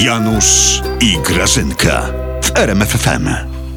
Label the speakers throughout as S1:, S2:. S1: Janusz i Grażynka w RMFFM.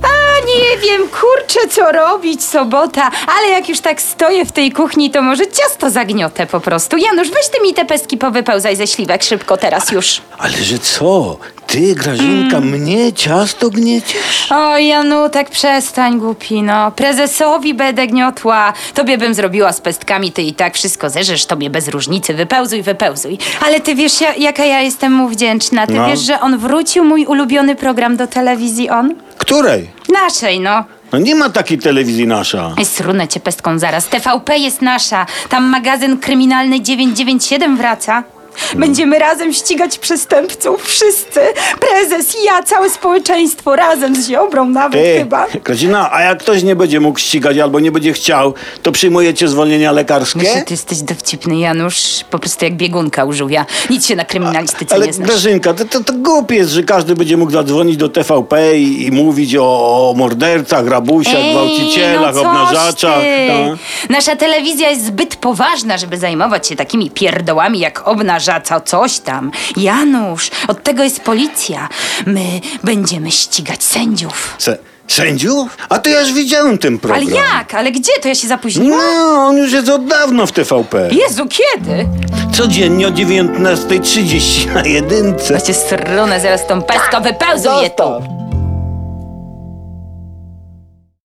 S2: A nie wiem, kurczę, co robić, sobota, ale jak już tak stoję w tej kuchni, to może ciasto zagniotę po prostu. Janusz, weź ty mi te pestki powypełzaj ze śliwek szybko teraz już.
S3: Ale że co? Ty, Grażynka,
S2: Mm.
S3: mnie ciasto gnieciesz?
S2: O, Janu, tak przestań, głupi, no. Prezesowi będę gniotła. Tobie bym zrobiła z pestkami, ty i tak wszystko zerzesz, tobie bez różnicy. Wypełzuj, wypełzuj. Ale ty wiesz, ja, jaka ja jestem mu wdzięczna. Ty
S3: No.
S2: wiesz, że on wrócił mój ulubiony program do telewizji On?
S3: Której?
S2: Naszej, no.
S3: No nie ma takiej telewizji nasza.
S2: Ej, Srunę cię pestką zaraz. TVP jest nasza. Tam magazyn kryminalny 997 wraca.
S3: No.
S2: Będziemy razem ścigać przestępców, wszyscy. Prezes, ja, całe społeczeństwo, razem z Ziobrą nawet
S3: Ty,
S2: chyba.
S3: Grażyna, a jak ktoś nie będzie mógł ścigać albo nie będzie chciał, to przyjmujecie zwolnienia
S2: Myślę,
S3: lekarskie?
S2: ty jesteś dowcipny, Janusz. Po prostu jak biegunka u żółwia. Nic się na kryminalistyce
S3: Ale
S2: nie znaczy. znasz.
S3: Grażynka, to, to, to głupie jest, że każdy będzie mógł zadzwonić do TVP i, i mówić o, o mordercach, rabusiach, gwałcicielach,
S2: no coś
S3: obnażaczach.
S2: ty.
S3: tak?
S2: Nasza telewizja jest zbyt poważna, żeby zajmować się takimi pierdołami jak obnażaca coś tam. Janusz, od tego jest policja. My będziemy ścigać sędziów.
S3: Se, sędziów? A to ja już widziałem ten
S2: Ale
S3: program.
S2: jak? Ale gdzie? To ja się zapóźniłam?
S3: No, on już jest od dawna w TVP.
S2: Jezu, kiedy?
S3: Codziennie o 19.30 na jedynce.
S2: Macie stronę, zaraz tą peską wypełzuję tu.